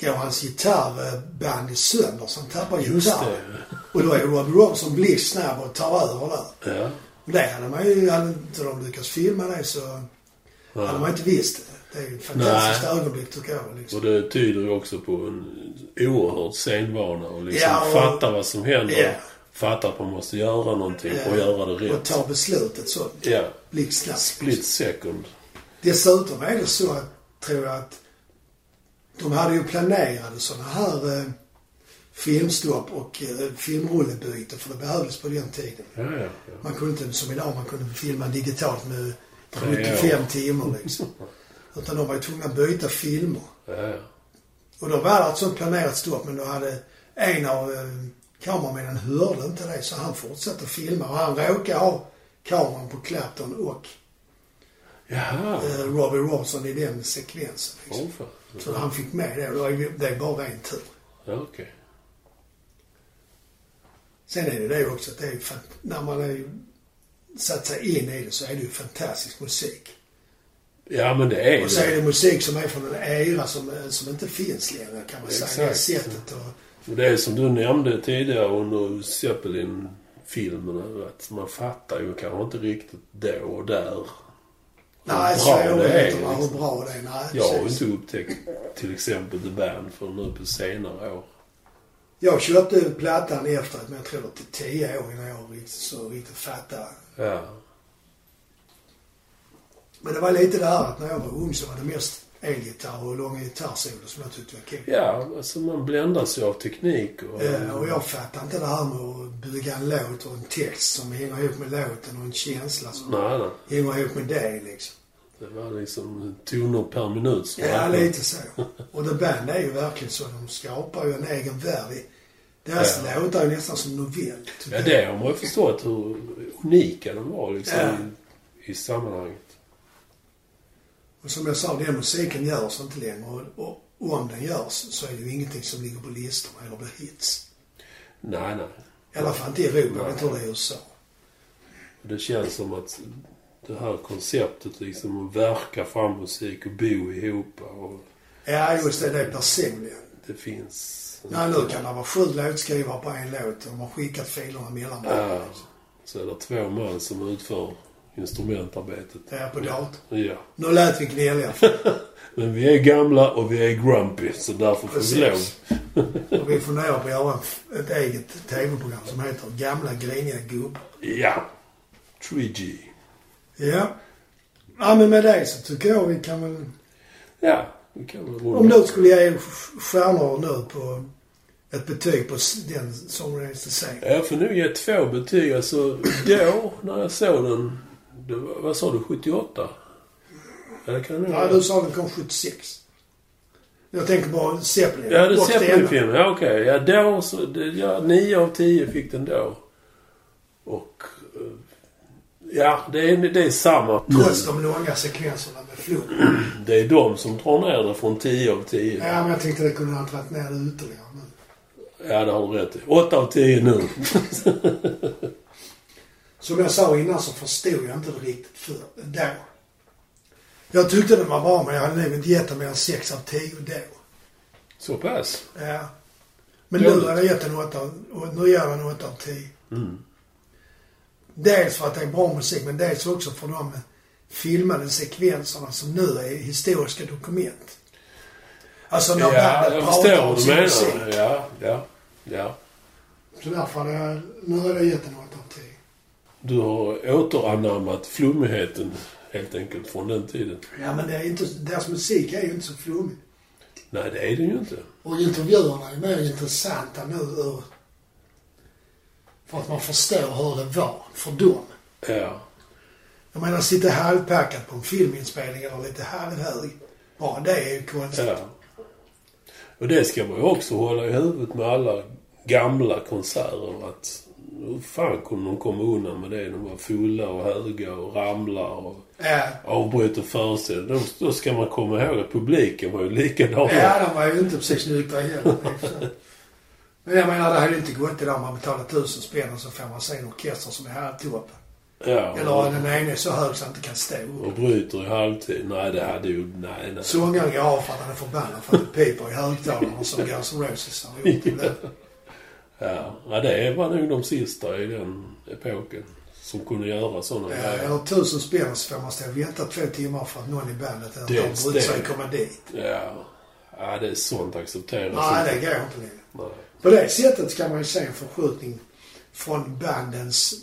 går hans gitarrband i sönder så han tappar gitarren. Och då är Robbie Robson blixtsnabb och tar över där.
det. Ja.
Och det hade man ju, hade inte de lyckats filma det så hade man inte visst det. Det är ju ett fantastiskt ögonblick tycker jag. Liksom.
Och det tyder ju också på en oerhörd scenvana och liksom
Ja, och-
fatta vad som händer.
Ja.
Fatta att man måste göra någonting
Ja.
och göra det
Och
rätt.
tar beslutet så
Ja.
blixtsnabbt.
Split second.
Dessutom är det så att, tror jag att de hade ju planerade sådana här eh, filmstopp och eh, filmrullebyte för det behövdes på den tiden.
Ja, ja, ja.
Man kunde inte som idag, man kunde filma digitalt med
Tre år.
75 timmar liksom. Utan de var ju tvungna att byta filmer.
ja, ja.
Och då var det ett sånt planerat stopp men då hade en av eh, kameramännen hörde inte det så han fortsatte filma och han råkade ha kameran på Clapton och
Jaha.
eh, Robbie Robertson i den sekvensen. Liksom.
Åh, fan.
Så han fick med det. Det var ju- Det är bara en tur.
Ja, okej.
Sen är det det också att det är ju fan- när man är satt sig in i det så är det ju fantastisk musik.
Ja, men det är
Och så är
det.
det musik som är från en era som, eh, som inte finns längre kan man säga. Det
Exakt.
sättet och,
Och det är som du nämnde tidigare under Zeppelin-filmerna. Att man fattar ju kanske inte riktigt då och där.
Nej,
bra
svårigheterna, hur
liksom.
bra det är. Nej,
Jag har ju
precis.
inte upptäckt till exempel The Band förrän nu på senare år.
Jag köpte plattan efter att men jag tror det till tio år innan jag riktigt, så riktigt fattade.
Ja.
Men det var lite där att när jag var ung så var det mest elgitarr och långa gitarrsolo som jag tyckte var kul.
Ja, alltså man bländas ju av teknik och...
Eh, Och jag fattade inte det här med att bygga en låt och en text som hänger ihop med låten och en känsla som
Nej, nej.
hänger ihop med det liksom.
Det var liksom toner per minut som
Ja,
räknades.
lite så. Och The Band är ju verkligen så. De skapar ju en egen värld. i- Deras
Ja.
låtar är ju nästan som novell.
Ja,
tycker jag.
det har man ju förstått hur unika de var liksom
Ja.
i, i sammanhanget.
Och som jag sa, den musiken görs inte längre. Och, och, och om den görs så är det ju ingenting som ligger på listorna eller blir hits.
Nej, nej.
I alla fall inte i Europa,
Nej.
jag tror det är i USA.
Det känns som att det här konceptet liksom att verka fram musik och bo ihop och
Ja, just det. Det är personligen.
det finns...
Nej, nu kan det vara sju låtskrivare på en låt. De har skickat filerna mellan varandra.
Ja. Så är det två man som utför instrumentarbetet.
Det är på datorn.
Ja.
Nu lät vi gnälliga.
Men vi är gamla och vi är grumpy, så därför får vi lov.
Precis. Och vi funderar på att göra ett eget tv-program som heter Gamla griniga gubbar.
Ja. 3G.
Ja. Ja, men med det så tycker jag vi kan väl...
Ja, vi kan väl runda.
Om du skulle ge stjärnor nu på ett betyg på s- den Songwriters to Save.
Jag får nog ge två betyg. Alltså då, när jag såg den, det var, vad sa du, 78? Ja, det kan jag nog
Ja, du sa den kom 76. Jag tänker bara Zeppelin.
Ja, det
Och
ser på
Stena.
min film. Ja, okej. Ja, då så... Det, ja, 9 av 10 fick den då. Och... eh, Ja, det är, det är samma.
Trots de långa sekvenserna med floden.
Det är de som drar ner det från 10 av 10.
Ja, men jag tänkte det kunde ha dragit ner det ytterligare. Men...
Ja, det har du rätt i. 8 av 10 nu.
Som jag sa innan så förstod jag inte det riktigt för då. Jag tyckte den var bra men jag hade nog inte gett den mer än 6 av 10 då.
*laughs* Så pass.
Ja. Men nu har jag gett den 8 av, och nu ger jag den 8 av 10.
Mm.
Dels för att det är bra musik men dels också för de filmade sekvenserna som nu är historiska dokument. Alltså när
Ja,
bandet
jag förstår
pratar om
vad du
sin musik.
menar. Ja, ja, ja.
Så därför hade jag, nu har jag gett den 8 av 10.
Du har återanammat flummigheten helt enkelt från den tiden.
Ja men det är inte, deras musik är ju inte så flummig.
Nej, det är den ju inte.
Och intervjuerna är mer intressanta nu ur... För att man förstår hur det var för dem.
Ja.
Jag menar, sitta halvpackad på en filminspelning eller lite halvhög. Bara det är ju konstigt.
Ja. Och det ska man ju också hålla i huvudet med alla gamla konserter. Att hur fan kunde de komma undan med det? De var fulla och höga och ramlade och
Ja.
avbröt och föreställningar. Då- Då ska man komma ihåg att publiken var ju likadan.
Ja, de var ju inte precis nyktra heller. i och för sig. Men jag menar, det hade ju inte gått idag om man betalar tusen spänn och så får man se en orkester som är halvtoppen.
Ja,
Eller den ena är så hög så han inte kan stå upp.
och bryter i halvtid. Nej, det hade ju... Nej, nej.
Sångaren går av för att han är förbannad för att det piper i högtalarna som Guns N' Roses har gjort ibland.
Ja. ja, det var nog de sista i den epoken som kunde göra sådana
Ja,
grejer.
Eh, eller tusen spänn så får man stå och vänta två timmar för att någon i bandet inte
Det är
har brytt sig
steg.
att komma dit.
Ja. ja, det är sånt accepteras
Nej, det
inte.
går inte längre.
Nej.
På det sättet kan man ju se en förskjutning från bandens,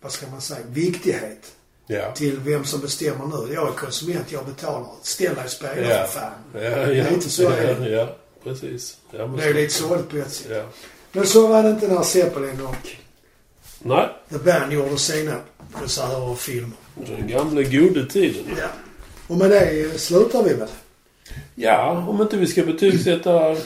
vad ska man säga, viktighet
Ja.
till vem som bestämmer nu. Jag är konsument, jag betalar. Ställ dig och spela
Ja.
för fan.
Ja, ja.
är inte så
ja,
det
ja, precis. Ja, men
Det är ju lite sorgligt på ett sätt.
Ja.
Men så var det inte när Zeppelin och
Nej,
The Band gjorde sina konserter och filmer.
den gamla gode tiden.
Ja. Och med det slutar vi väl.
Ja, om inte vi ska betygsätta eh,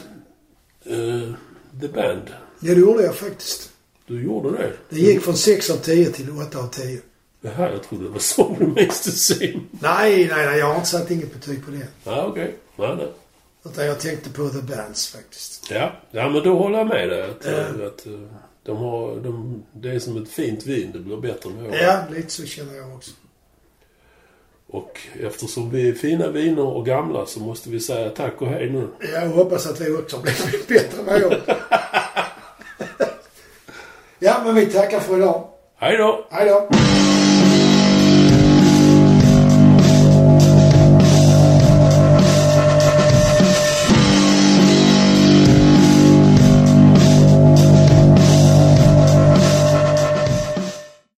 The Band.
Ja, det gjorde jag faktiskt.
Du gjorde det.
Det gick från 6 av 10 till 8 av 10.
Det här jag trodde det var *laughs* så det mest syn.
Nej, nej, nej, jag har inte satt inget betyg på det.
Ja, okej. Nej, nej.
Utan jag tänkte på The Bands faktiskt.
Ja. ja, men då håller jag med dig. Att, eh, att, eh, de har, de, det är som ett fint vin, det blir bättre med åren.
Ja, lite så känner jag också.
Och eftersom vi är fina viner och gamla så måste vi säga tack och hej nu.
Jag hoppas att vi också blir *laughs* bättre än vad jag Ja, men vi tackar för idag.
Hej då!
Hej då!